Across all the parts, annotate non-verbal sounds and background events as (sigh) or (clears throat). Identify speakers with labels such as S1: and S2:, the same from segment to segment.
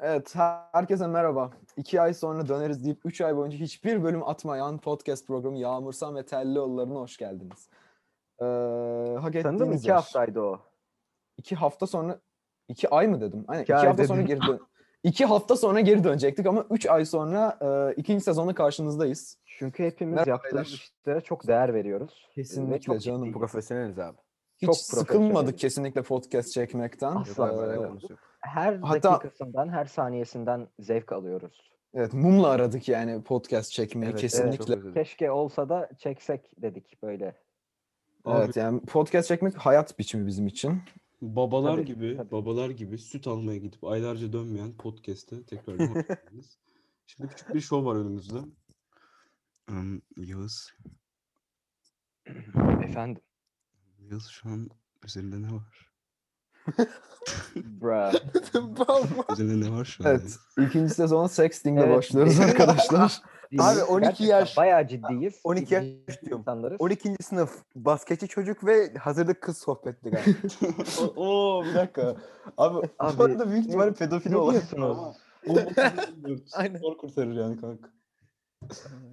S1: Evet, herkese merhaba. İki ay sonra döneriz deyip üç ay boyunca hiçbir bölüm atmayan podcast programı Yağmursan ve Tellioğulları'na hoş geldiniz. Ee, hak
S2: Sanırım
S1: ettiğiniz
S2: iki
S1: yer.
S2: haftaydı o.
S1: İki hafta sonra, iki ay mı dedim? Aynen,
S2: İki
S1: iki,
S2: ay
S1: hafta
S2: dedim.
S1: sonra geri dön. İki hafta sonra geri dönecektik ama üç ay sonra e, ikinci sezonla karşınızdayız.
S2: Çünkü hepimiz
S1: Merhaba
S2: yaptığımız
S1: beyler.
S2: işlere çok değer veriyoruz.
S1: Kesinlikle
S2: Ve çok
S1: canım.
S2: ciddiyiz.
S3: Profesyoneliz abi.
S1: Hiç
S2: Çok profesyoneliz.
S1: sıkılmadık kesinlikle podcast çekmekten.
S3: Yok
S2: Asla
S3: abi,
S2: Ee,
S3: alakası
S1: Ee,
S2: yok.
S3: yok.
S2: Her
S1: Hatta-
S2: dakikasından, her saniyesinden zevk alıyoruz.
S1: evet, mumla aradık yani podcast çekmeyi
S3: Evet, evet, çok
S1: kesinlikle.
S3: özür dilerim.
S2: Keşke olsa da çeksek dedik böyle.
S1: Evet, yani podcast çekmek hayat biçimi bizim için.
S4: Babalar
S2: Tabii,
S4: gibi,
S2: tabii.
S4: babalar gibi süt almaya gidip aylarca dönmeyen podcast'e tekrar (laughs) hoş geldiniz. Şimdi küçük bir şov var önümüzde. Em, Yağız,
S2: Efendim.
S4: Yağız şu an üzerinde ne (laughs) var?
S2: Bra.
S4: Üzerinde ne var şu an?
S1: Evet. İkinci sezona sexting'le
S2: Evet.
S3: (laughs)
S1: başlıyoruz arkadaşlar.
S3: Abi 12
S2: Gerçekten
S3: yaş-
S2: Bayağı ciddiyiz.
S3: 12 yaş
S2: İlginç
S3: diyorum.
S2: insanlarız.
S3: 12. sınıf basketçi çocuk ve hazırlık kız sohbetleri. abi. O- Oo bir dakika.
S4: (laughs)
S3: Abi,
S2: Abi,
S3: bu arada büyük ihtimalle pedofili
S2: Ne
S3: olan.
S2: diyorsunuz?
S3: Aynen.
S4: (laughs) Aynen. Spor kurtarır yani kanka.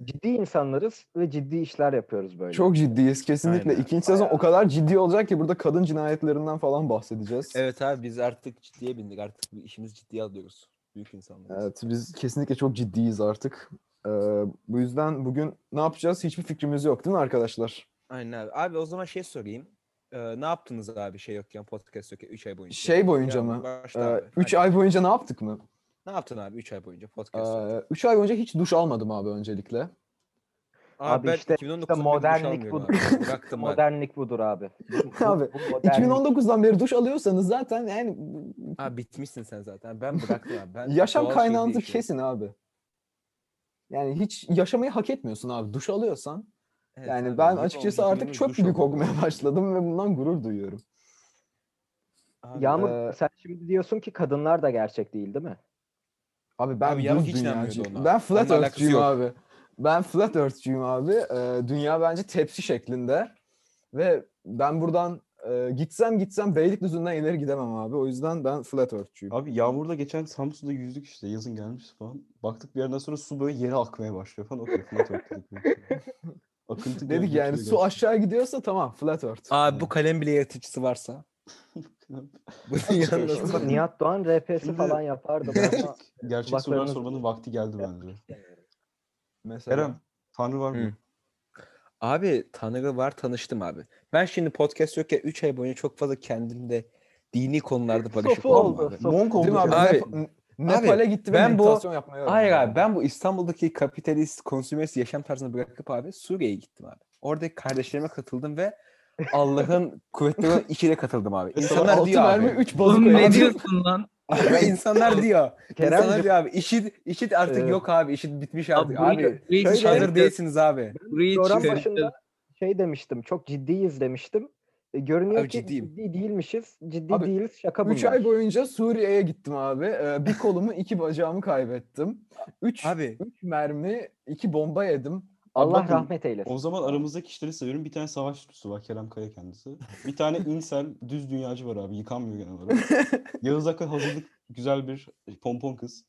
S2: Ciddi insanlarız ve ciddi işler yapıyoruz böyle.
S1: Çok ciddiyiz kesinlikle.
S3: Aynen,
S1: İkinci sezon o
S2: bayağı.
S1: kadar ciddi olacak ki burada kadın cinayetlerinden falan bahsedeceğiz.
S3: Evet abi biz artık ciddiye bindik. Artık bu işimizi ciddiye alıyoruz. Büyük insanlar.
S1: Evet, biz kesinlikle çok ciddiyiz artık. Ee, bu yüzden bugün ne yapacağız hiçbir fikrimiz yok değil mi arkadaşlar?
S3: Aynen abi. Abi o zaman şey sorayım. Ee, ne yaptınız abi şey yokken podcast yokken 3 ay boyunca?
S1: Şey boyunca
S3: Yağmur,
S1: mı?
S3: başla
S1: Ee,
S3: abi.
S1: üç
S3: Hadi.
S1: ay boyunca ne yaptık mı?
S3: Ne yaptın abi 3 ay boyunca
S1: Ee,
S3: podcast? yokken?
S1: üç ay boyunca hiç duş almadım abi öncelikle.
S2: Abi işte-
S3: 2019'dan beri duş
S2: modernlik
S3: almıyorum
S2: budur.
S3: abi. Bıraktım ben.
S2: Modernlik budur abi. Bu- bu-
S1: Abi,
S2: bu modernlik.
S1: 2019'dan beri duş alıyorsanız zaten yani
S3: Ha bitmişsin sen zaten. Ben bıraktım abi. Ben
S1: yaşam
S3: doğal şey
S1: kaynağınızı
S3: değişiyor.
S1: kesin abi. Yani hiç yaşamayı hak etmiyorsun abi. Duş alıyorsan
S3: Evet
S1: Yani
S3: abi,
S1: ben
S3: yeni
S1: açıkçası
S3: olmuş,
S1: artık
S3: yeni
S1: çöp
S3: duş
S1: gibi
S3: aldım.
S1: kokmaya (laughs) başladım ve bundan gurur duyuyorum.
S3: Abi,
S2: Yağmur
S1: Ee,
S2: sen şimdi diyorsun ki kadınlar da gerçek değil değil mi?
S1: Abi ben
S3: Abi Yavuz
S1: düz
S3: hiç inanmıyordu
S1: dünyacıyım.
S3: ona.
S1: Ben flat
S3: Onunla alakası
S1: earth'cüyüm
S3: yok.
S1: abi. Ben flat earth'cüyüm abi. Ee, dünya bence tepsi şeklinde. Ve ben buradan e, gitsem gitsem Beylikdüzü'nden ileri gidemem abi. O yüzden ben flat earth'cüyüm.
S4: Abi yağmurda geçen Samsun'da yüzdük işte yazın gelmiş falan. Baktık bir yerden sonra su böyle yere akmaya başlıyor falan. O tarafına topladık. (laughs) Akıntı
S1: Dedik yani su aşağı gidiyorsa tamam flat earth.
S3: Abi bu kalem bile
S2: (laughs)
S3: yaratıcısı varsa. Bu
S4: Abi,
S3: dünyanın
S4: Nasıl?
S2: Bak, Nihat Doğan RP'si
S4: Şimdi-
S1: (laughs)
S2: falan yapardı. ama
S4: Gerçek, gerçek sorular
S2: kulaklarınız-
S4: sormanın vakti geldi bence.
S1: Mesela.
S4: Kerem, Tanrı var
S3: Hı.
S4: mı?
S3: Abi Tanrı var tanıştım abi. Ben şimdi podcast yokken 3 ay boyunca çok fazla kendimde dini konularda barışık
S2: Sofu
S3: oldum
S2: oldu.
S3: abi.
S2: sofu.
S4: Monk
S1: Değil mi abi?
S4: olacak.
S3: Abi-
S1: Nep- Nepal'e gitti ve
S3: ben bu-
S1: meditasyon yapmayı öğrendi.
S3: Hayır abi ben bu İstanbul'daki kapitalist, konsümist yaşam tarzını bırakıp abi Suriye'ye gittim abi. Oradaki kardeşlerime katıldım ve
S2: (laughs)
S3: Allah'ın kuvvetli olan işine katıldım abi.
S4: Ve sana
S3: İnsanlar
S1: Altı
S3: diyor abi.
S1: mermi 3 bozuk.
S5: Oğlum
S1: abi.
S5: ne diyorsun lan?
S3: Abi
S2: (laughs)
S3: insanlar diyor.
S2: Kerem-
S3: insanlar diyor abi. İşit, işit artık
S2: Evet.
S3: yok abi. İşit bitmiş artık.
S5: burayı-
S3: Abi,
S5: burayı
S3: hiç
S2: şöyle-
S3: hazır değilsiniz abi.
S5: Burayı
S2: Program
S5: çıkaracağız.
S2: başında şey demiştim. Çok ciddiyiz demiştim. E, görünüyor
S3: Abi
S2: ki
S3: ciddiyim.
S2: ciddi değilmişiz. Ciddi
S1: Abi,
S2: değiliz. Şaka bunlar.
S1: 3 ay boyunca Suriye'ye gittim abi. Ee, bir kolumu, iki bacağımı kaybettim. 3
S3: Abi
S1: 3 mermi, 2 bomba yedim.
S2: Allah
S4: Bakın,
S2: rahmet eylesin.
S4: O zaman aramızdaki kişileri sayıyorum. Bir tane savaş tutusu var Kerem Kaya kendisi.
S3: (laughs)
S4: Bir tane insel düz dünyacı var abi. Yıkanmıyor genel olarak. Yağız Akın hazırlık güzel bir e, pompon kız.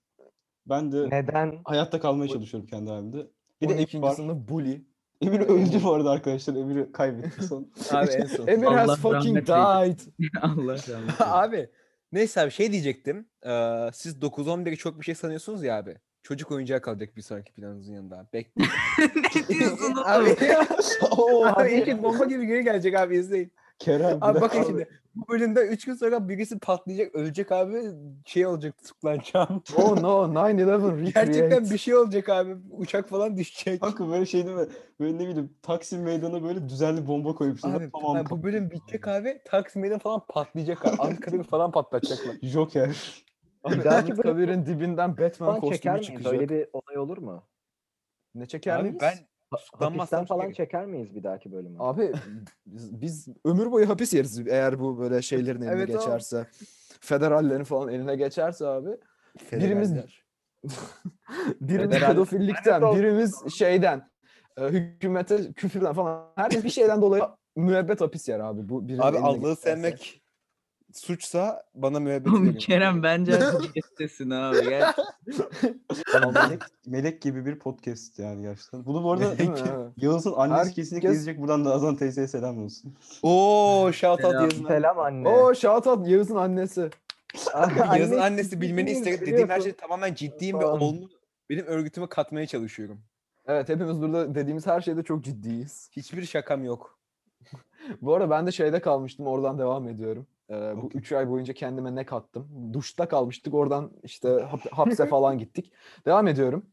S4: Ben de
S2: Neden?
S4: hayatta kalmaya çalışıyorum kendi halimde. Bir
S1: Bir
S4: de
S1: de
S4: Emir var.
S1: sınıf bully.
S4: Emir öldü bu arada arkadaşlar. Emir'i kaybettik son.
S3: (laughs)
S4: (laughs)
S3: abi en son.
S1: Emir
S5: Allah
S1: has fucking
S5: rahmet
S1: died.
S5: eylesin. (laughs) Allah rahmet eylesin.
S3: abi neyse abi şey diyecektim. Ee, siz 9-11'i çok bir şey sanıyorsunuz ya abi. Çocuk oyuncağı kalacak bir sonraki planınızın yanında. Bekleyin.
S5: ne (laughs) diyorsun oğlum?
S3: (laughs) abi,
S4: (laughs) Oo,
S3: abi işit bomba gibi geri gelecek abi izleyin.
S4: Kerem.
S3: Abi bakın şimdi bu bölümde 3 gün sonra birisi patlayacak ölecek abi şey olacak tutuklanacağım.
S1: Oh no 9-11 recreate.
S3: Gerçekten bir şey olacak abi uçak falan düşecek.
S4: (laughs) Kanka böyle şey değil mi? Böyle ne bileyim Taksim Meydanı'na böyle düzenli bomba koymuşlar.
S3: Abi,
S4: tamam.
S3: abi bu bölüm bitecek abi. Taksim Meydanı falan patlayacak abi. Ankara'yı falan patlatacaklar.
S4: Joker.
S1: Abi
S2: Belki
S1: Ahmet
S2: böyle-
S1: Kabir'in dibinden Batman
S2: Falan çeker
S1: kostümü
S2: miyiz?
S1: çıkacak.
S2: Öyle bir olay olur mu?
S1: Ne çeker miyiz?
S2: Ha-
S3: Tutuklanmazsam
S2: Hapisten falan
S3: çekerim.
S2: çeker miyiz bir dahaki bölüme?
S1: Abi biz, biz ömür boyu hapis yeriz eğer bu böyle şeylerin eline
S3: Evet abi.
S1: geçerse. Federallerin falan eline geçerse abi. Birimiz-
S3: Federaller.
S1: (laughs) Birimiz
S3: Federal-
S1: pedofillikten,
S2: Lanet
S1: birimiz şeyden, e, hükümete küfürden falan. Herkes bir şeyden dolayı müebbet hapis yer abi. Bu birinin
S3: Abi
S1: eline
S3: Allah'ı
S1: geçerse.
S3: sevmek suçsa bana müebbet
S5: Oğlum
S3: verin.
S5: Kerem bence artık kestesin abi. Gel.
S4: (laughs) Ama melek, melek gibi bir podcast yani gerçekten. Bunu
S3: (laughs)
S4: bu arada
S1: Değil mi? Evet.
S4: Yağız'ın annesi
S1: Herkes-
S4: kesinlikle izleyecek. Buradan da Azan teyzeye selam olsun.
S3: Oo shout out
S5: Selam.
S3: yazın.
S2: (laughs) Selam anne.
S1: Oo shout out Yağız'ın annesi.
S3: Yazın annesi bilmeni
S2: biliyoruz,
S3: istedim dediğim her
S2: biliyorsun.
S3: şey tamamen ciddiyim ve
S2: Tamam.
S3: onu benim örgütüme katmaya çalışıyorum.
S1: Evet hepimiz burada dediğimiz her şeyde çok ciddiyiz.
S3: Hiçbir şakam yok.
S1: Bu arada ben de şeyde kalmıştım oradan devam ediyorum. Ee, bu
S4: Okey.
S1: 3 ay boyunca kendime ne kattım? Duşta kalmıştık oradan
S4: (laughs)
S1: işte hap- hapse falan gittik. Devam ediyorum.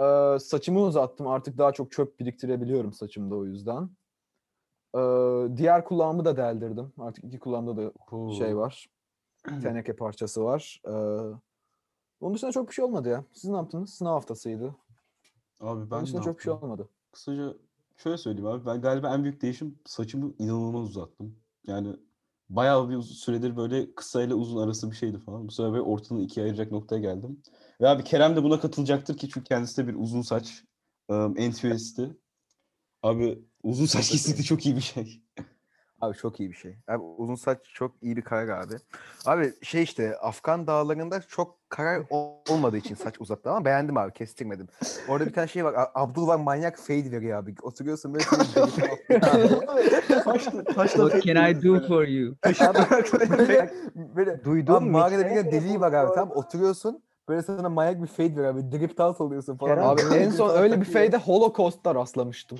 S1: Ee, saçımı uzattım artık daha çok çöp biriktirebiliyorum saçımda o yüzden. Ee, diğer kulağımı da deldirdim. Artık iki kulağımda da şey
S4: (clears throat)
S1: var. Teneke parçası var. Ee, onun dışında çok bir şey olmadı ya. Siz ne yaptınız? Sınav haftasıydı.
S4: Abi
S1: Onun
S4: ben
S1: dışında
S4: ne
S1: çok bir şey
S4: yaptım?
S1: olmadı.
S4: Kısaca şöyle söyleyeyim abi. Ben galiba en büyük değişim saçımı inanılmaz uzattım. Yani bayağı bir uz- süredir böyle kısa ile uzun arası bir şeydi falan. Bu sefer böyle ortanın ikiye ayıracak noktaya geldim. Ve abi Kerem de buna katılacaktır ki çünkü kendisi de bir uzun saç um, entüyelisti. Abi uzun saç kesinlikle çok iyi bir şey.
S3: Abi çok iyi bir şey. Abi uzun saç çok iyi bir karar abi. Abi şey işte Afgan dağlarında çok karar ol- olmadığı için saç uzattı ama beğendim abi kestirmedim. Orada bir tane şey var. A- Abdul var manyak fade veriyor abi. Oturuyorsun böyle. senin belin altında.
S4: Saçla, saçla
S5: What can I do for you?
S3: Abi (laughs) (laughs) böyle, böyle
S2: Duydun
S3: Abi
S2: mu?
S3: mağarada
S2: hiç?
S3: bir tane deliği var abi tam oturuyorsun. Böyle sana manyak bir fade veriyor abi. Drip dans oluyorsun falan.
S2: Kerem,
S1: Abi
S3: Böyle
S1: en
S4: (laughs)
S1: son
S3: sana
S1: öyle bir
S3: takıyor.
S1: feyde Holocaust'ta rastlamıştım.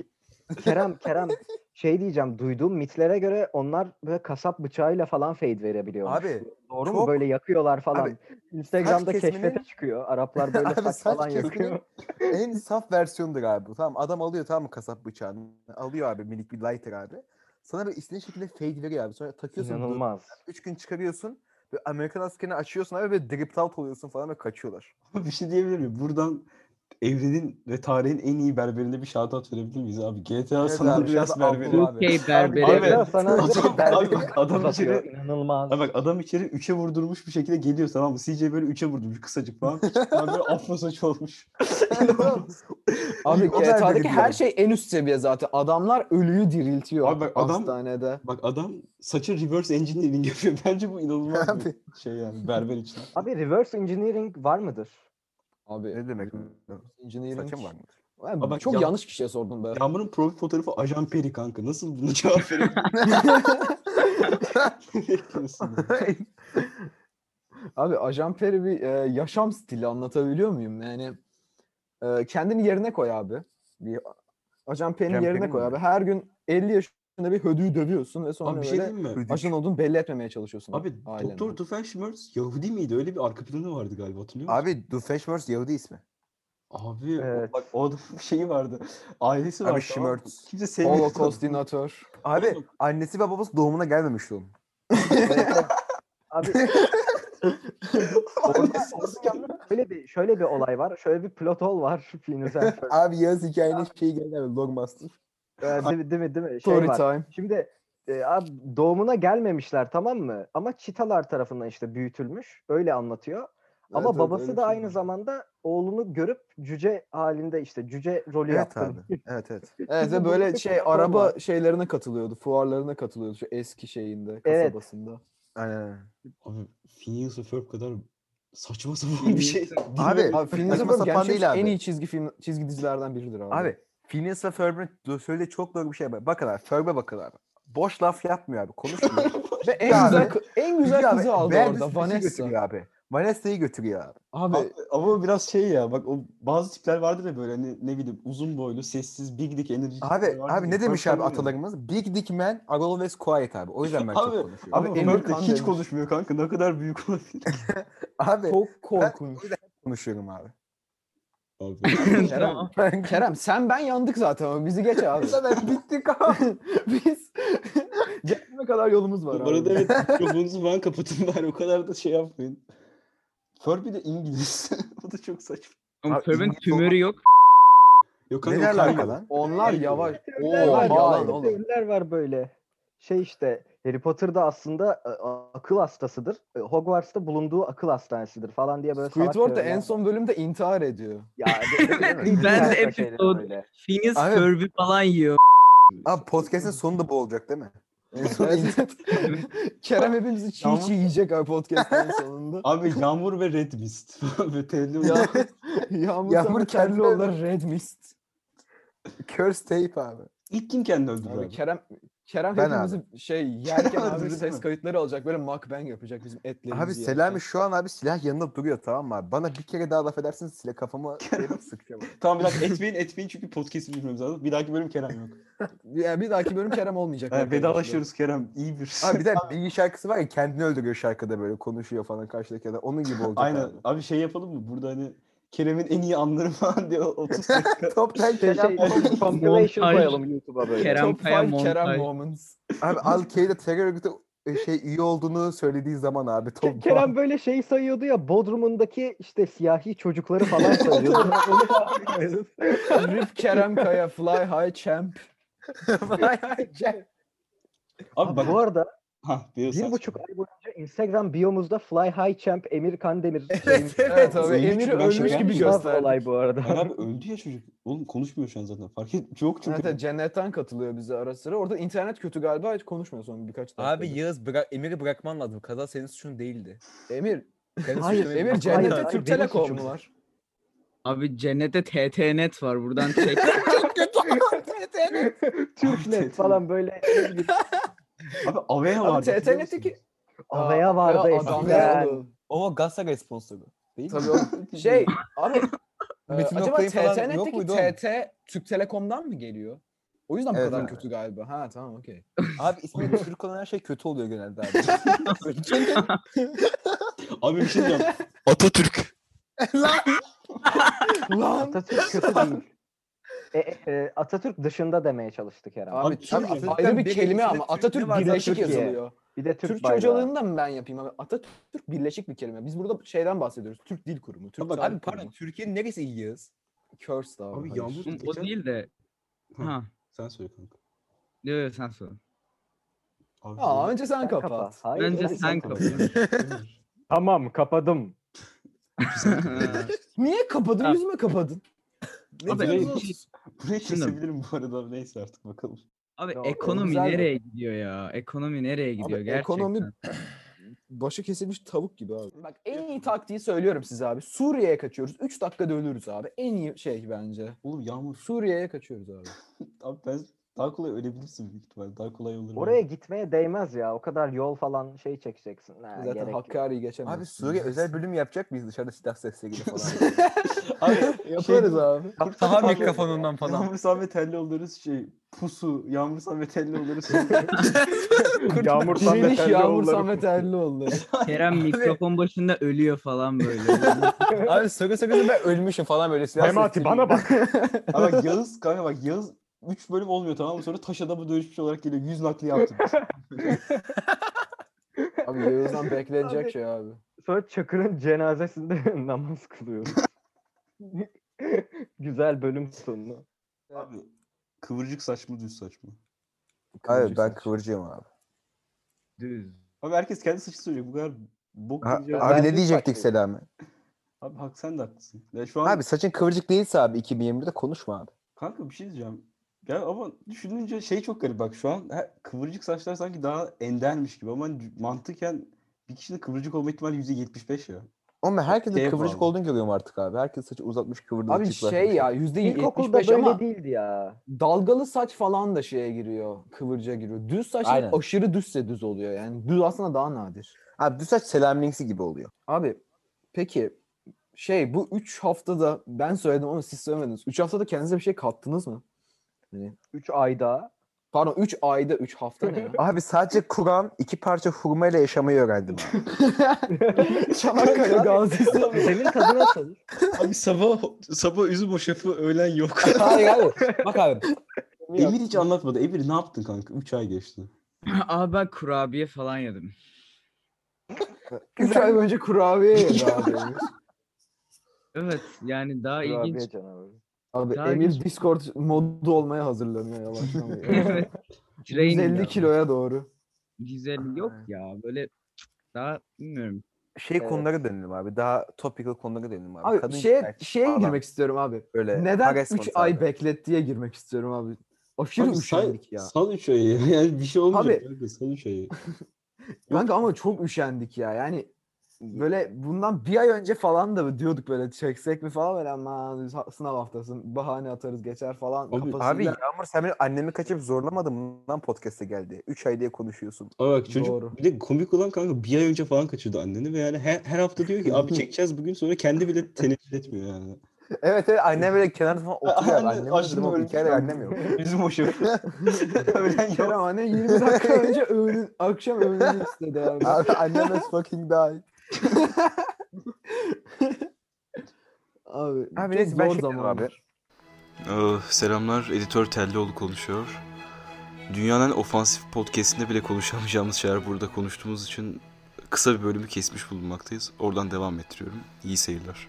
S2: Kerem Kerem şey diyeceğim duyduğum mitlere göre onlar böyle kasap bıçağıyla falan fade verebiliyor.
S3: Abi
S2: Doğru mu?
S3: çok-
S2: Böyle yakıyorlar falan.
S3: Abi,
S2: Instagram'da
S3: saç kesiminin-
S2: keşfete çıkıyor. Araplar böyle
S3: Abi,
S2: saç,
S3: saç
S2: falan yakıyor.
S3: kesiminin- en saf versiyonudur abi bu. Tamam adam alıyor tamam mı kasap bıçağını. Alıyor abi minik bir lighter abi. Sana böyle istediğin şekilde fade veriyor abi. Sonra takıyorsun.
S2: İnanılmaz.
S3: Üç gün çıkarıyorsun. Böyle Amerikan askerini açıyorsun abi ve drip out oluyorsun falan ve kaçıyorlar.
S4: bir şey diyebilir miyim? Buradan evrenin ve tarihin en iyi berberine bir shoutout verebilir miyiz abi? GTA
S3: Evet
S4: San
S3: abi,
S4: Andreas
S3: shoutout Abdullah. Şey,
S4: berberi. Abi-
S5: UK Şey, berbere.
S2: Abla sana
S4: Adam-
S2: bir berber
S4: adam- adam
S2: uzatıyor.
S4: içeri-
S2: İnanılmaz.
S4: Ha bak adam içeri 3'e vurdurmuş bir şekilde geliyor tamam mı? CJ böyle 3'e vurdurmuş kısacık falan. Abi
S3: (laughs)
S4: böyle afro saç olmuş. (laughs)
S1: Abi
S3: O kadar
S1: GTA'daki
S3: garip
S1: her
S3: yani.
S1: şey en üst seviye zaten. Adamlar ölüyü diriltiyor
S4: Abi bak adam-
S1: hastanede.
S4: Bak adam saça reverse engineering yapıyor. (laughs) Bence bu inanılmaz bir
S3: Abi.
S4: şey yani berber için.
S2: Abi reverse engineering var mıdır?
S1: Abi
S3: Ne demek?
S1: engineering.
S3: Saçım var mı?
S1: Abi,
S4: Ama
S1: çok
S4: yan-
S1: yanlış kişiye sordum be.
S4: Yağmur'un profil fotoğrafı Ajan Peri kanka. Nasıl bunu cevap (laughs)
S3: (laughs)
S4: verebilirim?
S1: Abi Ajan Peri bir e, yaşam stili anlatabiliyor muyum? Yani e, kendini yerine koy abi. Bir Ajan Peri'nin
S3: Ajan
S1: yerine
S3: Peri
S1: koy
S3: mi?
S1: abi. Her gün 50 yaşında bir hödüğü dövüyorsun ve sonra
S4: Abi bir şey
S1: böyle
S4: diyeyim mi?
S1: ajan olduğunu belli etmemeye çalışıyorsun.
S4: Abi
S1: ailene.
S4: Doktor Doofenshmirtz Yahudi miydi? Öyle bir arka planı vardı galiba hatırlıyor musun?
S3: Abi Doofenshmirtz Yahudi ismi.
S4: Abi o-
S2: Evet.
S4: bak o adamın (laughs) şeyi vardı. Ailesi
S3: Abi
S4: vardı. tamam mı?
S3: Schmertz.
S4: Kimse sevmiyordu.
S1: Holocaust dinatör.
S3: Abi
S4: Oğlum.
S3: annesi ve babası doğumuna gelmemişti onun.
S2: Abi
S4: Orada
S2: şöyle bir şöyle bir olay var. Şöyle bir plot hole var (laughs) filmin
S3: Abi yaz hikayenin
S1: şey
S3: şeyi geldi abi. Logmaster.
S2: değil, değil mi değil mi? Şey
S1: Story
S2: var.
S1: time.
S2: Şimdi e, abi doğumuna gelmemişler tamam mı? Ama çitalar tarafından işte büyütülmüş. Öyle anlatıyor. Ama
S1: Evet, evet,
S2: babası
S1: öyle bir
S2: da
S1: şey
S2: aynı
S1: var.
S2: zamanda oğlunu görüp cüce halinde işte cüce rolü
S3: Evet
S2: yaptı.
S3: abi. Evet evet.
S1: Evet ve
S2: Bizim
S1: böyle
S2: buradaki
S1: şey
S2: plakon var.
S1: araba şeylerine katılıyordu. Fuarlarına katılıyordu şu eski şeyinde
S2: Evet.
S1: kasabasında.
S3: Aynen aynen.
S4: (laughs) Abi Phineas ve Ferb kadar saçma sapan bir şey.
S5: Phineas
S3: Abi,
S1: Abi Phineas
S3: E, Saçma
S1: Ferb
S3: sapan
S1: gerçekten
S3: değil
S1: en
S3: abi.
S1: iyi çizgi film çizgi dizilerden biridir abi.
S3: Abi Phineas ve Ferb'in söylediği çok doğru bir şey var. Bakın abi Ferb'e bakın abi. Boş laf yapmıyor abi. Konuşmuyor.
S1: ve en
S3: abi.
S1: güzel kı- en güzel kızı aldı
S3: Bel
S1: orada
S3: Bisküvit'i
S1: Vanessa.
S3: götürüyor abi. Vanessa'yı götürüyor abi.
S1: Abi
S4: Abi, ama o biraz şey ya bak o bazı tipler vardır ya böyle hani ne bileyim uzun boylu sessiz big dick enerji tipleri
S3: Abi,
S4: vardır
S3: abi
S4: ya,
S3: ne demiş abi
S4: Ferb öyle.
S3: atalarımız? Big dick man are always quiet abi. O yüzden ben çok
S4: Abi-
S3: konuşuyorum.
S4: Abi
S1: Abi,
S4: Ferb
S1: Emir
S4: de
S1: Kan
S4: hiç
S1: demiş.
S4: konuşmuyor kanka ne kadar büyük olabilir.
S3: Abi,
S1: çok korkunç.
S3: konuşuyorum abi.
S4: Abi.
S5: (laughs)
S1: Kerem, Kerem sen ben yandık zaten ama bizi geç abi.
S3: ben bittik abi.
S1: (laughs) Biz gelene kadar yolumuz var
S4: (laughs) Bu
S1: abi.
S4: arada evet mikrofonunuzu falan kapatın bari o kadar da şey yapmayın. Furby de İngiliz. (laughs) o da çok saçma.
S5: Oğlum
S3: Abi,
S5: Ferb'in
S3: İngiliz
S5: tümörü yok.
S4: Yok
S3: Ne
S4: kanka, o
S3: derler
S4: kanka.
S3: lan?
S1: Onlar
S4: Evet.
S1: yavaş. Oo
S2: Teoriler var,
S1: yalan
S2: böyle
S1: oğlum.
S2: teoriler var böyle. Şey işte Harry Potter da aslında e, a- akıl hastasıdır. E, Hogwarts'ta bulunduğu akıl hastanesidir falan diye böyle salak
S1: Squidward da
S2: teoriler
S1: en
S2: var.
S1: son bölümde intihar ediyor.
S2: Ya, de- de-
S5: Ben
S2: de-
S5: de
S2: şeyler
S5: episode-
S2: böyle.
S5: Phineas
S3: Abi-
S5: Ferb'i falan yiyor.
S3: Abi podcast'in sonu da bu olacak değil mi?
S1: En son (laughs)
S3: (laughs)
S1: internet- Kerem hepimizi çiğ
S4: Yağmur-
S1: çiğ yiyecek abi podcast'ın sonunda.
S4: Abi yağmur ve red mist. (laughs) ve telli
S1: Ya,
S4: uyan.
S1: yağmur
S3: (laughs) Yağmur
S1: Yağmur
S3: kendi
S1: kelli olur red mist.
S3: Curse tape abi.
S4: İlk kim kendini öldürdü
S1: Abi
S4: abi?
S1: Kerem Kerem
S3: Ben
S1: hepimizi
S3: (laughs)
S1: şey yerken abi
S3: Öldürdü
S1: ses
S3: mü?
S1: kayıtları alacak böyle mukbang yapacak bizim etlerimizi.
S3: Abi
S1: yerken.
S3: Selami şu an abi silah yanında duruyor tamam mı abi? Bana bir kere daha laf edersin silah kafama verip sıkacağım.
S4: Tamam bir dakika etmeyin etmeyin çünkü podcast'i bilmemiz lazım. Bir dahaki bölüm Kerem yok.
S1: Yani bir dahaki bölüm Kerem olmayacak.
S4: Ha,
S1: arkadaşlar.
S4: vedalaşıyoruz Kerem. İyi bir.
S3: Abi bir de bilgi şarkısı var ya kendini öldürüyor şarkıda böyle konuşuyor falan karşıdaki adam. Onun gibi olacak
S4: (laughs) Aynen.
S3: abi.
S4: Abi şey yapalım mı? Burada hani Kerem'in en iyi anları (laughs) falan diye 30 dakika.
S3: Top ten
S2: Şey,
S3: Kerem-
S2: şey, compilation
S5: Montaj.
S2: koyalım YouTube'a böyle.
S5: Kerem
S1: Top
S5: Kaya
S1: 5 Kerem
S5: montaj.
S1: moments.
S3: Abi Al-Qaeda terör örgütü e, şey üye olduğunu söylediği zaman abi
S2: Ke-
S3: top
S2: Kerem böyle şey sayıyordu ya Bodrum'undaki işte siyahi çocukları
S1: (laughs)
S2: falan sayıyordu. Hani
S1: Rip şey, Kerem Kaya fly high champ.
S4: Abi bak.
S2: Bu arada
S4: Ha, bir
S2: bir buçuk ay boyunca Instagram biyomuzda Fly High Champ Emir Kandemir. şeyimiz
S1: Evet
S2: vardı.
S1: abi
S4: Zengin
S1: Emir'i
S4: çıkan
S1: ölmüş
S4: şeker
S1: gibi
S4: mi?
S2: İnanılmaz
S1: gösterdi.
S2: olay bu arada.
S4: Abi öldü ya çocuk. Oğlum konuşmuyor şu an zaten. Fark et. Yok çünkü.
S1: Evet, evet, cennetten katılıyor bize ara sıra. Orada internet kötü galiba hiç konuşmuyor son birkaç dakika.
S6: Abi Yağız bıra- Emir'i bırakman lazım. Kaza senin suçun değildi.
S1: Emir,
S6: Senin
S2: Hayır,
S6: suçun
S1: Emir
S6: Emir'in-
S1: cennette
S2: hayır, benim
S1: Türk Telekom mu
S2: suçum.
S1: var?
S5: Abi cennete TTNet var buradan çek.
S2: Türknet falan böyle
S1: (laughs)
S2: ne bileyim,
S4: Abi Avea
S1: Abi
S4: vardı. hatırlıyor
S1: TTN'deki-
S4: musunuz?
S2: Avaya vardı
S1: Ya adam
S2: eskiden.
S1: ya.
S6: Ama Galatasaray sponsoru. Değil mi?
S1: Tabii o- şey abi e,
S6: Metin
S1: acaba
S6: Oktay'ın falan yok
S1: TTN'deki
S6: muydu oğlum?
S1: TT Türk Telekom'dan mı geliyor? O yüzden bu
S3: Evet,
S1: kadar
S3: evet.
S1: kötü galiba. Ha tamam okey.
S6: (laughs) Abi
S3: (laughs)
S6: ismi Türk olan her şey kötü oluyor genelde abi.
S4: Abi bir şey diyeceğim.
S1: Lan
S2: Atatürk kötü değil. E, e, e, Atatürk dışında demeye çalıştı Kerem.
S1: abi,
S4: bir şey
S1: Türk
S4: diyeceğim.
S1: ayrı bir
S6: Atatürk'ten
S1: kelime
S6: birleşik
S1: ama
S6: Türk ne
S1: Atatürk
S6: varsa
S1: birleşik
S2: Türkiye.
S1: yazılıyor.
S2: bir de Türk,
S1: Türk
S2: bayrağı.
S1: hocalarında mı ben yapayım abi? Atatürk birleşik bir kelime. Biz burada şeyden bahsediyoruz. Türk Dil Kurumu, Türk
S4: Bak
S1: Tarih
S6: abi pardon
S1: Kurumu.
S6: Türkiye'nin neresi iyi Yağız?
S1: Curse da abi.
S4: Abi
S1: hayır.
S4: yağmur
S5: o
S4: geçen-
S5: değil de.
S4: Hı.
S5: Ha.
S4: Sen söyle kanka.
S5: Yok yok sen sor.
S4: Abi,
S1: Aa, (laughs)
S4: yağmur-
S1: önce sen,
S2: Sen
S1: kapat.
S2: kapa. Hayır,
S5: Bence
S2: öyle şey
S5: sen
S2: kapa.
S5: kapa. (laughs)
S2: Tamam kapadım.
S1: Niye kapadın?
S5: Ha.
S1: Yüzüme kapadın.
S5: abi,
S4: Burayı-
S5: bir şey-
S4: Burayı
S5: Şunu-
S4: kesebilirim bu arada. abi, Neyse artık bakalım.
S5: abi
S1: Ya, o
S5: ekonomi
S1: güzel de.
S5: nereye gidiyor ya? Ekonomi nereye gidiyor gerçekten?
S1: ekonomi- Başı kesilmiş tavuk gibi abi. Bak en iyi taktiği söylüyorum size abi. Suriye'ye kaçıyoruz. 3 dakikada ölürüz abi. En iyi şey bence.
S4: Oğlum yağmur.
S1: Suriye'ye kaçıyoruz abi.
S4: Abi ben daha kolay ölebilirsin büyük ihtimalle. Daha kolay olur.
S2: Oraya gitmeye değmez ya. O kadar yol falan şey çekeceksin. Ha, gerek
S1: Zaten
S2: yok.
S1: Hakkari'yi geçemiyoruz.
S3: Abi
S1: (laughs)
S3: Suriye özel bölüm yapacak mıyız dışarıda silah sesleriyle falan?
S4: Abi şey
S1: Yaparız abi.
S6: (laughs) Daha mikrofonundan falan. (laughs)
S4: Yağmur Samet Telli oluruz şey. Pusu. Yağmur Samet Telli oluruz.
S2: Yağmur
S1: Diriliş Yağmur Samet Erlioğlu.
S5: Kerem mikrofon başında ölüyor falan
S4: (laughs)
S5: böyle.
S6: abi soru soruyorsun ben ölmüşüm falan böyle silah sesleri.
S2: bak. (laughs)
S4: Ama bak Yağız kanka bak Yağız 3 bölüm olmuyor tamam mı? Sonra taş adamı dönüşmüş olarak geliyor. Yüz nakli yaptı.
S1: Abi Yavuz'dan beklenecek
S2: Abi.
S1: şey abi.
S2: Sonra Çakır'ın cenazesinde (laughs) namaz kılıyoruz. Güzel bölüm sonu.
S4: Abi kıvırcık saç mı düz saç mı?
S3: abi ben
S1: Kıvırcık saç.
S3: kıvırcıyım abi.
S5: Düz.
S4: Abi herkes kendi saçını söyleyecek. Bu kadar bok
S3: Ha-
S4: diyeceğim.
S3: abi
S2: ben
S3: ne diyecektik
S2: saçlıyım.
S3: Selami?
S4: Abi hak sen de haklısın. Ya şu an
S3: Abi saçın kıvırcık değilse abi 2020'de konuşma abi.
S4: kanka bir şey diyeceğim. Ya ama düşününce şey çok garip bak şu an he- kıvırcık saçlar sanki daha endermiş gibi ama hani mantıken bir kişinin kıvırcık olma ihtimali %75 ya.
S3: Oğlum ben herkesin
S6: Şey
S4: Şeye
S3: kıvırcık
S4: bağlı.
S3: olduğunu görüyorum artık abi. Herkes saçı uzatmış kıvırcık.
S1: Abi şey ya yüzde
S2: İlkokulda
S1: 75
S2: böyle
S1: ama
S2: değildi ya.
S1: dalgalı saç falan da şeye giriyor. Kıvırcığa giriyor. Düz saç
S3: Aynen.
S1: aşırı düzse düz oluyor. Yani düz aslında daha nadir.
S3: Abi bu saç Selami'ninki gibi oluyor.
S1: Abi peki şey bu 3 haftada ben söyledim ama siz söylemediniz. 3 haftada kendinize bir şey kattınız mı?
S2: 3 ayda.
S1: Pardon 3 ayda 3 hafta ne ya?
S3: Abi sadece Kur'an iki parça hurmayla yaşamayı öğrendim abi.
S1: (laughs) Çanakkale Gazisi.
S2: (laughs) Zemin tadı nasıl?
S4: (laughs) Abi sabah sabah üzüm o şefi
S1: (laughs)
S4: öğlen yok.
S6: Hayır abi. Bak abi.
S4: Emir hiç anlatmadı. Emir ne yaptın kanka? 3 ay geçti.
S5: Abi ben kurabiye falan yedim.
S1: 3 ay önce kurabiye yedi abi. Emir.
S5: Evet yani daha ilginç. (laughs)
S2: Kurabiye canavarı.
S1: Abi
S5: Daha
S1: Emir
S5: ilginç.
S1: Discord modu olmaya hazırlanıyor yavaştan.
S5: Evet. Training
S1: 150
S5: ama.
S1: kiloya doğru.
S5: 150 yok ya böyle daha bilmiyorum.
S3: Şey
S2: Evet.
S3: konulara dönelim abi. Daha topical konulara dönelim abi.
S1: Abi
S3: Kadın
S1: şeye,
S3: cinayeti
S1: şeye
S3: falan.
S1: girmek istiyorum abi.
S3: Böyle
S1: Neden
S3: harassment
S1: 3 ay
S3: abi.
S1: beklettiğe girmek istiyorum abi. Aşırı
S4: Abi say-
S1: üşendik ya.
S4: Sal üç ayı. (laughs) Yani bir şey olmayacak.
S1: Abi-
S4: kanka, sal üç ayı.
S1: Kanka ama çok üşendik ya. Yani böyle bundan bir ay önce falan da diyorduk böyle çeksek mi falan böyle aman sınav haftası bahane atarız geçer falan
S4: Abi- abi
S1: kafasıyla. (laughs)
S3: Abi Yağmur sen benim annemi kaçıp zorlamadım lan podcast'e geldi. 3 ay diye konuşuyorsun.
S4: Ama bak çocuk
S1: Doğru.
S4: bir de komik olan kanka bir ay önce falan kaçırdı anneni ve yani her, her hafta diyor
S1: (laughs)
S4: ki abi çekeceğiz bugün sonra kendi bile tenezzül etmiyor yani.
S3: Evet evet annem böyle kenarda falan oturuyor.
S4: Anne,
S3: (laughs) annem
S4: aşkım
S3: dedim o
S4: ölmüş
S3: hikayede
S4: lan.
S3: annem yok.
S4: Bizim
S1: (laughs)
S4: o şef. (laughs) Öğlen yok.
S1: Kerem anne 20
S3: (laughs)
S1: dakika önce öğün, akşam öğünü istedi abi.
S3: Abi annem is fucking die.
S1: (laughs) Abi,
S3: Abi
S1: çok
S3: neyse ben
S1: zor
S3: şey
S1: zaman.
S3: abi.
S7: Ah, selamlar, editör Tellioğlu konuşuyor. Dünyanın en ofansif podcastinde bile konuşamayacağımız şeyler burada konuştuğumuz için kısa bir bölümü kesmiş bulunmaktayız. Oradan devam ettiriyorum. İyi seyirler.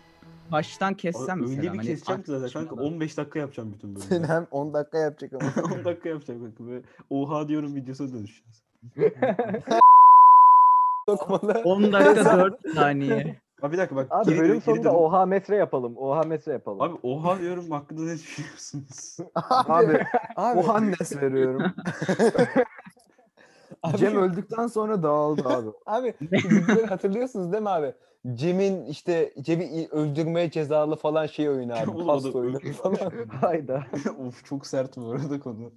S5: Baştan kessem
S4: Öyle
S5: mesela.
S4: bir
S5: hani
S4: keseceğim ki zaten kanka
S5: tartışmadan.
S4: 15 dakika yapacağım bütün
S3: Sen
S4: bölümü.
S3: hem 10 dakika yapacak
S1: (laughs)
S3: ama.
S4: (laughs) 10 dakika yapacağım kanka. Böyle, Oha diyorum videosu dönüşeceğiz.
S6: Lokmalı.
S4: (laughs)
S5: 10 dakika 4 saniye.
S4: Abi bir dakika bak.
S2: Abi
S4: geri dön-
S2: bölüm
S4: geri
S2: sonunda
S4: dön.
S2: oha metre yapalım. Oha metre yapalım.
S4: Abi oha diyorum hakkında ne düşünüyorsunuz?
S3: abi, abi.
S1: Muhannes
S6: (laughs)
S1: veriyorum. Cem öldükten sonra dağıldı abi.
S6: (laughs) Abi bizleri hatırlıyorsunuz değil mi abi? Cem'in işte Cem'i öldürmeye cezalı falan şey oyunu abi.
S4: (laughs) Oğlum adam
S6: Pasta oyunu
S4: öldürmüş.
S6: falan.
S2: (laughs) Hayda.
S4: of çok sert bu arada konu.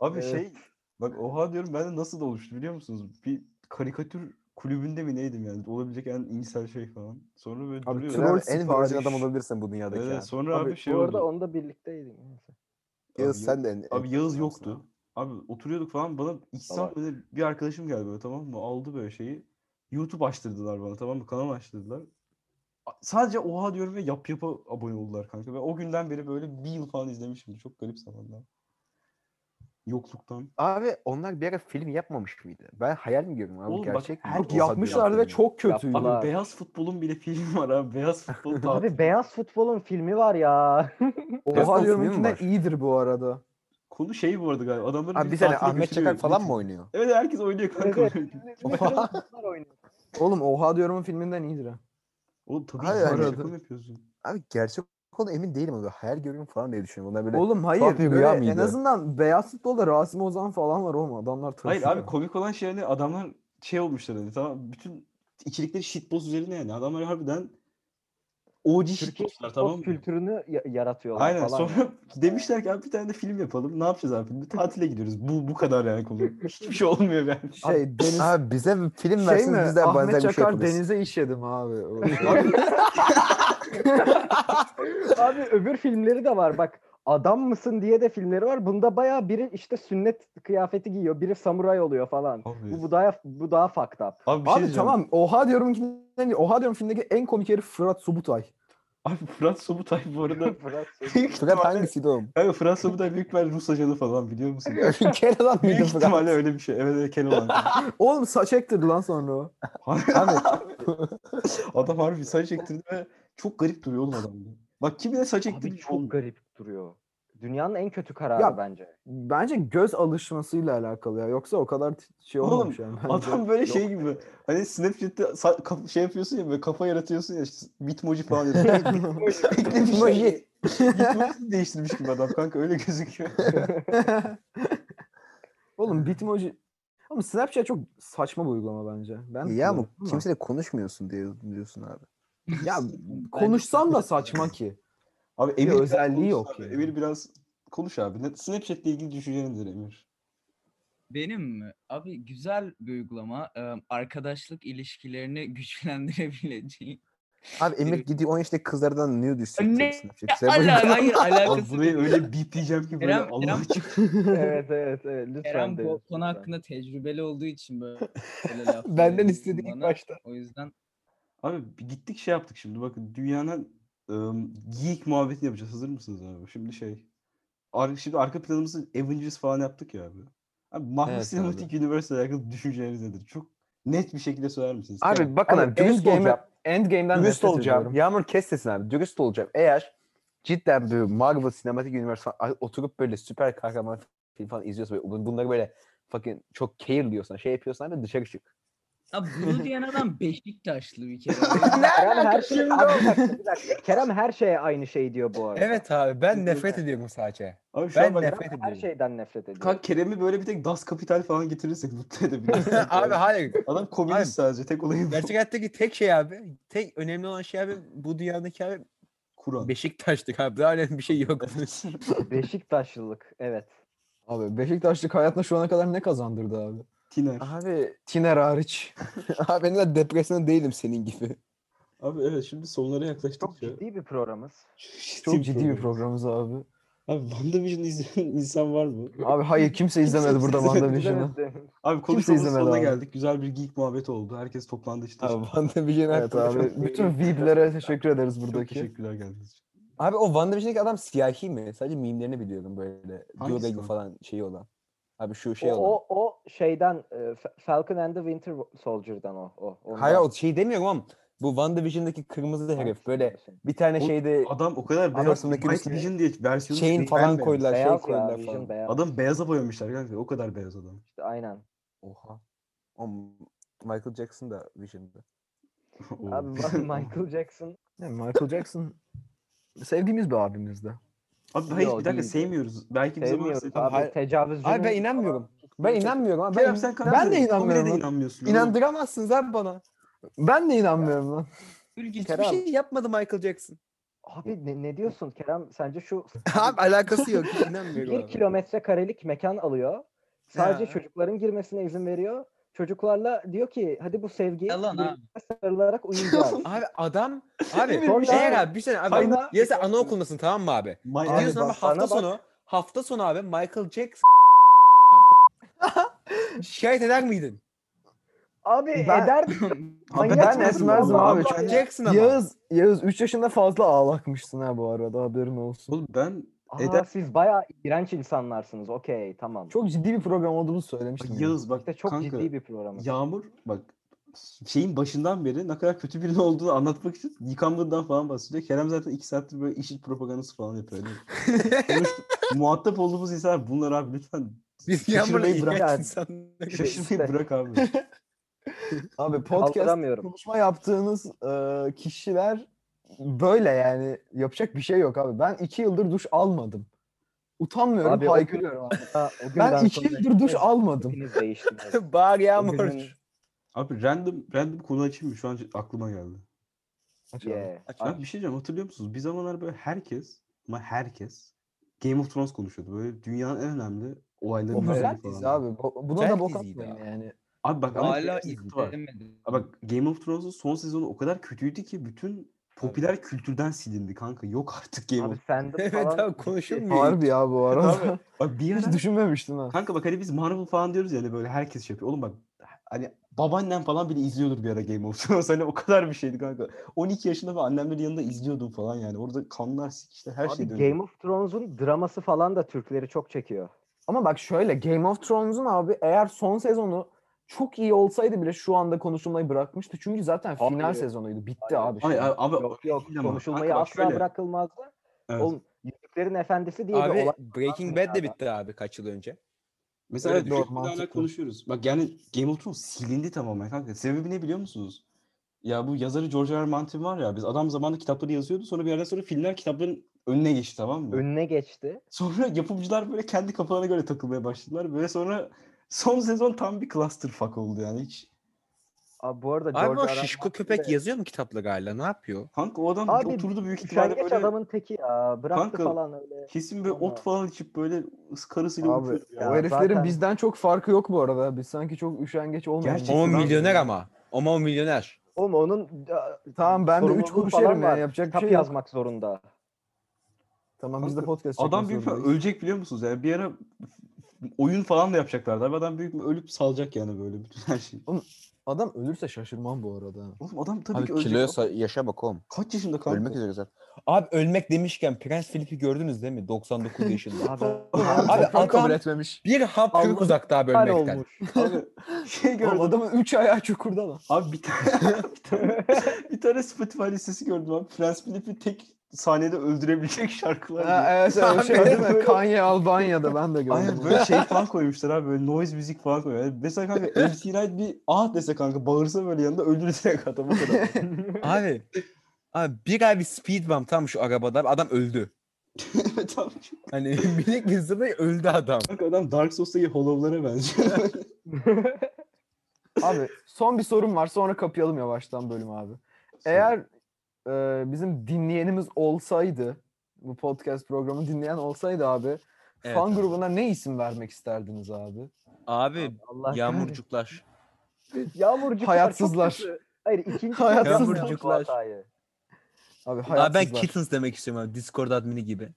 S4: Abi şey bak oha diyorum ben de nasıl da oluştu biliyor musunuz? Bir karikatür kulübünde mi neydim yani olabilecek en insel şey falan. Sonra böyle
S3: Abi
S4: duruyor.
S3: troll
S1: troll
S3: en
S1: sipariş.
S3: virgin adam olabilirsin bu dünyadaki.
S4: Evet,
S3: Evet,
S4: sonra abi,
S2: Abi,
S4: şey
S2: bu arada
S4: oldu.
S2: onda birlikteydim. Neyse.
S3: Yağız
S4: Abi,
S3: sen de en, en-
S4: Abi Yağız yoktu. Abi oturuyorduk falan bana İhsan böyle bir arkadaşım geldi böyle tamam mı? Aldı böyle şeyi. YouTube açtırdılar bana tamam mı? Kanal açtırdılar. A- Sadece oha diyorum ve yap yapa abone oldular kanka. Ve o günden beri böyle bir yıl falan izlemişim. Çok garip zamanlar. Yokluktan.
S3: Abi onlar bir ara film yapmamış mıydı? Ben hayal mi görüyorum abi
S4: Oğlum bak,
S3: gerçek mi?
S4: her-
S3: Oha
S1: Yapmışlardı ve
S3: diyorum.
S1: çok kötüydü.
S4: Abi
S2: Yaptılar.
S4: beyaz futbolun bile filmi var abi. Beyaz
S2: (laughs)
S4: futbol
S2: Abi
S4: tatili.
S2: beyaz futbolun filmi var ya.
S1: Oha
S3: Yazdan
S1: diyorum
S3: filmi mi
S1: içinden
S3: var?
S1: iyidir bu arada.
S4: Konu şey bu arada galiba. Adamların
S3: Abi bir
S4: tane
S3: tane Ahmet Çakar falan mı oynuyor?
S4: Evet herkes oynuyor kanka.
S2: Evet.
S4: oyunu.
S2: Bunlar oynuyor.
S1: Oğlum Oha diyorum'un filminden iyidir ha.
S4: Oğlum tabii
S3: Hayır,
S4: ki sen
S1: hayır.
S4: şaka mı yapıyorsun?
S3: Abi gerçek konu emin değilim abi. Hayal görüyorum falan diye düşünüyorum. Onlar böyle
S1: Oğlum hayır.
S3: tuhaf bir rüya
S1: Böyle en
S3: mıydı?
S1: azından beyaz futbolda Rasim Ozan falan var oğlum. Adamlar
S4: Hayır
S1: tırsıyor.
S4: abi komik olan şey hani adamlar şey olmuşlar hani tamam bütün içerikleri shitpost üzerine yani. Adamlar harbiden OG
S2: Türkiye
S4: shitpostlar
S2: tamam
S4: tamam mı?
S2: kültürünü ya- yaratıyorlar
S4: Aynen
S2: falan.
S4: sonra (laughs) demişler ki abi bir tane de film yapalım. Ne yapacağız abi? Bir tatile gidiyoruz. Bu bu kadar yani konu. Hiçbir şey olmuyor yani.
S1: Şey Deniz
S3: Abi bize bir film
S1: şey mi?
S3: verseniz biz de benzer
S1: Ahmet
S3: bir şey
S1: Çakar
S3: yaparız.
S1: denize işedim abi. O-
S2: (laughs)
S3: (laughs)
S2: Abi öbür filmleri de var bak. Adam mısın diye de filmleri var. Bunda bayağı biri işte sünnet kıyafeti giyiyor. Biri samuray oluyor falan.
S4: Abi,
S2: Bu, bu daha bu daha fucked up.
S4: abi, bir şey
S1: abi
S4: diyeceğim.
S1: tamam Oha diyorum'un Oha diyorum filmindeki en komik herif Fırat Subutay.
S4: Abi Fırat Sobutay bu
S2: (laughs)
S4: arada büyük
S3: Fırat
S4: ihtimalle-
S3: hangisiydi oğlum?
S4: Abi Fransa bu da büyük bir Rus ajanı falan biliyor musun?
S1: (laughs)
S3: Kerala mıydı
S4: büyük
S3: Fırat?
S4: ihtimalle öyle bir şey. Evet evet Keloğlan.
S1: Oğlum saç ektirdi lan sonra o. (laughs)
S4: adam harbi saç ektirdi ve çok garip duruyor oğlum adam. Bak kimine saç ektirdi
S2: Abi
S4: çok
S2: çok garip duruyor. Dünyanın en kötü kararı
S1: Ya, (laughs)
S2: bence.
S1: Bence göz alışmasıyla alakalı ya. Yoksa o kadar t- şey
S4: Oğlum,
S1: olmamış yani. bence.
S4: Adam böyle şey gibi. Hani Snapchat'te sa- kaf- şey yapıyorsun ya böyle kafa yaratıyorsun ya. işte
S1: (laughs)
S4: Bitmoji falan yaratıyorsun. Bitmoji. Bitmoji değiştirmiş gibi adam kanka öyle gözüküyor.
S1: (laughs) Oğlum Bitmoji. Ama Snapchat çok saçma bir uygulama bence. Ben
S3: Ya ama
S1: kullanıyorum ama-
S3: kimseyle konuşmuyorsun diye diyorsun abi.
S1: Ya konuşsam da saçma ki.
S4: Abi
S1: Bir
S4: Emir biraz
S1: özelliği
S4: konuş
S1: yok
S4: abi.
S1: yani.
S4: Emir biraz konuş abi. Ne- Snapchat'le ilgili düşüncelerindir Emir.
S5: Benim mi? Abi güzel bir uygulama. Ee, arkadaşlık ilişkilerini güçlendirebileceği.
S3: Abi
S1: Ee,
S3: Emir
S5: Direkt-
S3: gidiyor 10 yaşındaki kızlardan nude
S5: Ne?
S3: istiyorsun.
S5: Ala, hayır
S4: Abi
S5: alakası
S4: burayı öyle bipleyeceğim ki böyle
S5: Eren-
S4: Allah
S5: Eren-
S4: aşkına.
S2: evet evet evet lütfen.
S5: Eren
S2: deyin,
S5: bu
S2: (laughs)
S5: konu
S2: lütfen.
S5: hakkında tecrübeli olduğu
S6: (laughs)
S5: için böyle, böyle laf
S6: Benden
S5: söyledi
S6: istediği ilk
S5: bana.
S6: başta.
S5: O yüzden
S4: Abi bir gittik şey yaptık şimdi bakın dünyanın ım, geek muhabbetini yapacağız. Hazır mısınız abi? Şimdi şey ar- şimdi arka planımızı Avengers falan yaptık ya abi. Abi Marvel
S6: Evet
S4: Cinematic Universe ile alakalı düşünceleriniz nedir? Çok net bir şekilde söyler
S3: (laughs)
S4: misiniz? Tamam.
S3: Abi bakın abi dürüst
S1: Endgame'e-
S3: olacağım.
S1: Endgame'den
S3: Dürüst
S1: nefret
S3: olacağım.
S1: ediyorum.
S3: Yağmur kes sesini abi. Dürüst olacağım. Eğer cidden bir Marvel Cinematic Universe falan- ay- oturup böyle süper kahraman film falan izliyorsan böyle bun- bunları böyle fucking çok care diyorsan şey yapıyorsan abi dışarı çık.
S5: Abi bunu
S6: (laughs)
S5: diyen adam Beşiktaşlı bir kere.
S2: Kerem her şey, Abi bir dakika, bir dakika. Kerem her şeye aynı şey diyor bu arada.
S3: Evet abi ben (laughs) nefret ediyorum sadece.
S4: Abi şu
S3: Ben
S4: an bak
S3: nefret
S2: Her
S3: ediyorum.
S2: şeyden nefret ediyor.
S4: Kanka Kerem'i böyle bir tek Das Kapital falan getirirsek mutlu edebiliriz.
S3: (laughs)
S4: sanki
S3: abi
S4: yani.
S3: hayır.
S4: Adam
S3: hayır.
S4: komünist sadece tek olayı bu.
S3: Gerçek hayattaki tek şey abi, tek önemli olan şey abi bu dünyadaki abi
S4: (laughs) Kur'an.
S3: Beşiktaş'tık abi. Daha önemli bir şey yok.
S2: Beşiktaşlılık. Evet.
S1: Abi Beşiktaşlık hayatına şu ana kadar ne kazandırdı abi?
S4: Tiner.
S8: Abi Tiner hariç. abi ben de depresyona değilim senin gibi.
S4: Abi evet şimdi sonlara
S2: Çok
S4: yaklaştıkça.
S2: ciddi bir programız.
S1: Çok ciddi bir programımız abi.
S4: Abi WandaVision izleyen (laughs) insan var mı?
S1: Abi hayır kimse izlemedi burada
S4: izlemedi,
S1: WandaVision'ı.
S4: Abi konuşmamızın
S1: izlemedi
S4: sonuna
S1: abi.
S4: geldik. Güzel bir geek muhabbeti oldu. Herkes toplandı işte.
S8: Abi WandaVision'ın
S1: Evet
S8: hakkında çok-
S1: abi. Bütün VIP'lere teşekkür ederiz
S4: Çok
S1: buradaki.
S4: teşekkürler geldiğiniz için.
S3: Abi o WandaVision'daki adam siyahi mi? Sadece mimlerini biliyorum böyle.
S4: Hangisi
S3: Duolingo
S4: o?
S3: falan şeyi olan. Abi şu
S2: O,
S3: şey olan.
S2: o, o şeyden e, Fa- Falcon and the Winter Soldier'dan o. o ondan.
S3: Hayır o şey demiyorum ama bu WandaVision'daki kırmızı herif böyle
S2: şey.
S3: bir tane
S4: O
S3: şeyde
S4: Adam o kadar beyaz.
S3: Arasındaki
S4: White
S3: resmi-
S4: Vision diye versiyonu
S3: şeyin falan
S4: beğenmedim.
S3: koydular, şey
S2: Beyaz ya,
S3: koydular
S2: Vision
S3: falan.
S2: beyaz.
S4: Adam beyaza boyamışlar kanka. O kadar beyaz adam. (laughs)
S2: İşte aynen.
S3: Oha. O Michael Jackson da Vision'da.
S4: Oo.
S2: Abi
S3: (laughs)
S2: bak Michael Jackson
S1: Yani Michael Jackson sevdiğimiz bir abimiz de.
S4: Abi hayır
S2: Yo,
S4: bir dakika
S2: değil.
S4: sevmiyoruz. Belki bize
S2: sevmiyoruz
S4: bahsedin.
S2: abi.
S3: Hayır.
S2: Tecavüzcü.
S3: Abi ben inanmıyorum. Ben inanmıyorum abi.
S4: Kerem
S3: Ben,
S4: sen
S3: ben
S4: kanka-
S3: de
S4: Komedide
S3: inanmıyorum.
S4: inanmıyorsun.
S3: İnandıramazsınız abi bana.
S1: Ben de inanmıyorum lan.
S5: Ülgüç
S3: Hiçbir şey yapmadı Michael Jackson.
S2: Abi ne, ne diyorsun Kerem? Sence şu
S3: (laughs) abi alakası yok. hiç İnanmıyorum
S2: bir
S3: abi.
S2: kilometre karelik mekan alıyor. Sadece
S3: Ha.
S2: çocukların girmesine izin veriyor. Çocuklarla diyor ki hadi bu sevgi
S5: Yalan
S2: birbirine
S5: abi.
S2: sarılarak uyuyacağız.
S3: Abi adam abi şey
S2: Sonra-
S3: eğer abi bir sene abi
S2: Sonra-
S3: ya sen anaokulundasın tamam mı abi?
S4: My
S2: Abi
S3: Gidiyorsun ama
S2: bak, bana
S3: hafta
S2: bak.
S3: sonu hafta sonu abi Michael Jackson abi. şikayet eder miydin?
S2: Abi
S1: Ben-
S2: ederdi.
S3: (laughs)
S4: Abi
S2: Manyak
S1: Ben
S2: mısın
S1: esmezdim
S2: oğlum?
S1: abi.
S2: Allah
S1: Çok
S2: ya.
S3: Jackson ama.
S1: Yağız, Yağız 3 yaşında fazla ağlakmışsın ha bu arada haberin olsun.
S4: Oğlum ben
S2: Aa,
S4: Eder-
S2: siz bayağı iğrenç insanlarsınız. Okey tamam. Çok,
S1: Çok ciddi bir program olduğunu söylemiştim. ya.
S4: Yağız bak
S2: işte çok
S4: kanka,
S2: ciddi bir programımız.
S4: Yağmur bak şeyin başından beri ne kadar kötü birinin olduğunu anlatmak için yıkanmadan falan bahsediyor. Kerem zaten iki saattir böyle işit propagandası falan yapıyor. Hani konuş- muhatap olduğumuz insanlar bunlar abi lütfen
S3: (laughs) Biz yağmurla
S4: şaşırmayı bırak.
S3: iğrenç
S2: yani.
S3: insanlar.
S4: (laughs) Şaşırmayı
S2: İşte.
S4: bırak abi.
S1: Abi podcast
S2: Kaldıramıyorum.
S1: konuşma yaptığınız e, kişiler böyle yani yapacak bir şey yok abi. Ben 2 yıldır duş almadım. Utanmıyorum,
S2: Abi o
S1: haykırıyorum abi.
S2: Ha, o
S1: Ben
S2: günden
S1: 2
S2: sonra
S1: yıldır duş
S2: hepiniz-
S1: (laughs) almadım.
S2: hepiniz değiştiniz.
S3: Bağır
S4: O
S3: yağmur.
S4: günün- Abi random random konu açayım mı? Şu an aklıma geldi.
S2: Yeah.
S3: Aç
S4: Abi bir şey diyeceğim hatırlıyor musunuz? Bir zamanlar böyle herkes ama herkes Game of Thrones konuşuyordu. Böyle dünyanın en önemli
S1: O
S4: olaylarından biri
S1: güzel dizi
S4: falan.
S1: abi. Bu- Buna
S3: Güzel
S1: da bok
S3: diziydi
S1: atmayın yani.
S4: Abi bak ama
S5: Hala
S4: şöyle bir sıkıntı var.
S5: izlemedim.
S4: Abi bak Game of Thrones'un son sezonu o kadar kötüydü ki bütün popüler kültürden silindi kanka. Yok artık Game
S2: Abi
S4: of
S2: sende
S3: Evet
S2: falan
S3: abi konuşulmuyor.
S1: Harbi ya bu arada.
S4: Bak
S1: (laughs)
S4: bir
S1: Hiç
S4: ara
S1: düşünmemiştim ha.
S4: kanka bak hani biz Marvel falan diyoruz yani böyle herkes şey yapıyor. Oğlum bak hani babaannem falan bile izliyordur bir ara Game of Thrones. (laughs) Hani o kadar bir şeydi kanka. 12 yaşında ve annemlerin yanında izliyordum falan yani. Orada kanlar işte her şey
S2: Abi
S4: dönüyor.
S2: Game of Thrones'un draması falan da Türkleri çok çekiyor.
S1: Ama bak şöyle Game of Thrones'un abi eğer son sezonu çok iyi olsaydı bile şu anda konuşulmayı bırakmıştı. Çünkü zaten final
S2: Hayır.
S1: sezonuydu. Bitti
S2: Hayır.
S1: abi.
S4: Hayır
S1: şimdi.
S4: abi, abi
S2: Yok yok
S4: değil ama.
S2: konuşulmayı
S4: Kanka bak
S2: asla
S4: şöyle,
S2: bırakılmazdı.
S4: evet.
S2: Oğlum Yüzüklerin Efendisi diye bir
S3: Abi
S2: olay.
S3: Breaking Bad de bitti abi kaç yıl önce.
S4: Mesela
S1: Evet,
S4: evet,
S1: doğru,
S4: doğru,
S1: mantıklı.
S4: konuşuyoruz. Bak yani Game of Thrones silindi tamamen kanka. Sebebi ne biliyor musunuz? Ya bu yazarı George R. R. Martin var ya biz adam zamanında kitapları yazıyordu. Sonra bir yerden sonra filmler kitapların önüne geçti tamam mı?
S2: Önüne geçti.
S4: Sonra yapımcılar böyle kendi kafalarına göre takılmaya başladılar. Böyle sonra son sezon tam bir clusterfuck oldu yani hiç.
S2: Abi bu arada
S3: Abi
S2: George
S3: o
S2: R. R.
S3: şişko
S2: Martin
S3: köpek
S2: de
S3: yazıyor mu kitapla galiba ne yapıyor?
S4: Kanka o adam
S2: Abi,
S4: oturdu büyük ihtimalle
S2: Üşengeç
S4: böyle
S2: adamın teki ya. Bıraktı
S4: Kanka,
S2: falan öyle.
S4: kesin böyle ot
S2: Ama-
S4: falan içip böyle karısıyla
S1: Abi,
S4: uçuyordu
S1: o
S4: yani.
S2: Ya
S1: heriflerin
S2: zaten-
S1: bizden çok farkı yok bu arada. Biz sanki çok üşengeç olmuyoruz.
S4: Gerçekten
S3: Ama
S4: abi.
S3: milyoner ama. Ama o milyoner.
S2: Oğlum onun a,
S1: Tamam ben de 3
S2: sorumluluğu
S1: konuşurum
S2: falan
S1: ya.
S2: var.
S1: Yapacak bir
S2: kitap
S1: şey yok.
S2: yazmak zorunda.
S1: Tamam biz de
S4: Kanka,
S1: podcast çekmek
S4: Adam büyük ihtimalle
S1: zorundayız.
S4: ölecek biliyor musunuz? Yani bir ara oyun falan da yapacaklardı. Abi adam büyük ihtimalle ölüp salacak yani böyle bütün her şeyi.
S1: Adam ölürse şaşırmam bu arada.
S4: Oğlum adam tabii
S3: Abi
S4: ki ölecek.
S3: kiloya sa- yaşa bak oğlum.
S4: Kaç yaşında kanka?
S3: Ölmek üzere zaten. Abi ölmek demişken Prens Philip'i gördünüz değil mi? 99 yaşında.
S2: Abi,
S3: Abi
S1: Toprağını kabul
S3: adam-
S1: etmemiş.
S3: bir hap
S1: Allah'ım
S3: kırık uzakta abi
S2: hal
S3: ölmekten.
S2: olmuş.
S4: (laughs) Abi,
S3: (laughs)
S4: şey
S1: Oğlum
S4: gördüm.
S1: adamın 3 ayağı çukurda lan.
S4: (laughs) Abi bir tane, bir tane, bir tane Spotify listesi gördüm abi. Prens Philip'in tek sahnede öldürebilecek şarkılar.
S6: Ha,
S4: diye.
S6: evet öyle bir şey var değil mi?
S1: Kanye Albanya'da ben de gördüm.
S4: Aynen böyle şey falan koymuşlar abi böyle noise müzik falan koyuyorlar. Mesela kanka
S6: (laughs)
S4: MC Light bir ah dese kanka bağırsa böyle yanında
S6: (laughs)
S4: öldürecek adamı (laughs) kadar.
S6: Abi. Abi bir abi speed bump tam şu arabada. Adam öldü.
S4: Tamam.
S6: Hani (laughs) bilek hızında öldü adam.
S4: Kanka adam Dark Souls'taki hollow'lara benziyor.
S1: Abi son bir sorum var sonra kapayalım yavaştan bölüm abi. Eğer e, bizim dinleyenimiz olsaydı bu podcast programı dinleyen olsaydı abi
S6: Evet
S1: fan
S6: abi.
S1: grubuna ne isim vermek isterdiniz abi?
S6: Abi
S1: Allah kahretsin.
S6: yağmurcuklar.
S2: Yağmurcuklar çok
S1: Hayatsızlar.
S2: kötü. Hayır ikinci
S1: Hayatsızlar.
S6: Yağmurcuklar.
S1: Abi
S6: Abi ben
S1: hayatsızlar.
S6: kittens demek istiyorum abi. Discord admini gibi.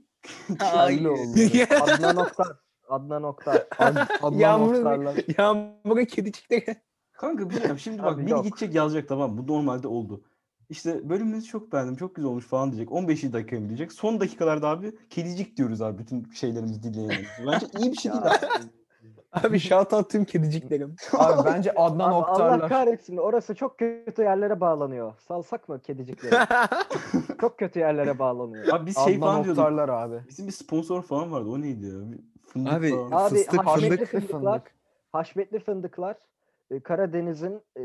S1: Hayırlı olsun.
S6: (laughs)
S2: Adnan Oktar. Adnan Oktar.
S1: Ad-
S2: (laughs)
S1: Adnan
S6: Yağmur-
S1: Oktar'la-
S6: Yağmur'a kedicikleri.
S4: Kanka bilmiyorum şimdi bak
S2: Abi
S4: biri
S2: yok.
S4: gidecek yazacak tamam bu normalde oldu. İşte bölümünüzü çok beğendim çok güzel olmuş falan diyecek. 15. dakika mı diyecek. Son dakikalarda abi kedicik diyoruz abi bütün şeylerimiz dinleyenlerimiz. Bence iyi bir şey değil abi.
S6: Abi shout out tüm kediciklerim.
S1: Abi bence Adnan
S2: Abi Allah
S1: Oktar'la
S2: kahretsin. Orası çok kötü yerlere bağlanıyor. Salsak mı kedicikleri?
S1: (laughs)
S2: çok kötü yerlere bağlanıyor.
S4: Abi biz şey
S1: Adnan
S4: falan diyorduk.
S1: Oktar'lar abi.
S4: Bizim bir sponsor falan vardı o neydi ya? Bir Fındık
S6: Abi-
S4: falan.
S6: Abi- Fıstık,
S2: haşmetli
S6: fındık.
S2: fındıklar, haşmetli fındıklar, e, Karadeniz'in e,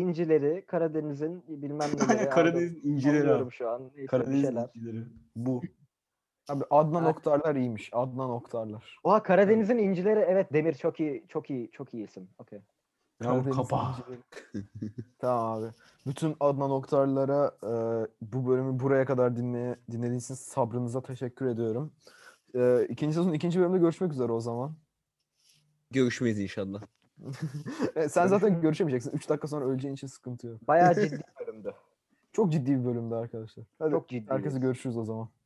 S2: incileri, Karadeniz'in
S4: (laughs)
S2: bilmem neleri.
S4: Aynen Karadeniz'in incileri abi.
S2: Anlıyorum şu an. Neyse, bir
S4: Karadeniz'in
S2: şeyler.
S4: incileri. Bu.
S1: Abi Adnan
S2: Ha.
S1: Oktar'lar iyiymiş. Adnan Oktar'lar.
S2: Oha Karadeniz'in incileri evet Demir çok iyi çok iyi çok iyi isim. Okey.
S4: Ya bu
S1: Karadeniz'in
S4: kapağı.
S1: incileri.
S4: (laughs)
S1: tamam abi. Bütün Adnan Oktar'lara e, bu bölümü buraya kadar dinle, dinlediğiniz için sabrınıza teşekkür ediyorum. E, ikinci sezonun ikinci bölümünde görüşmek üzere o zaman.
S6: Görüşmeyiz inşallah.
S1: E, sen
S4: (laughs)
S1: zaten görüşemeyeceksin. 3 dakika sonra öleceğin için sıkıntı
S6: (laughs)
S1: yok.
S2: Bayağı ciddi bir bölümdü.
S1: Çok ciddi bir bölümdü arkadaşlar. Hadi
S2: Çok ciddi.
S1: herkese görüşürüz o zaman.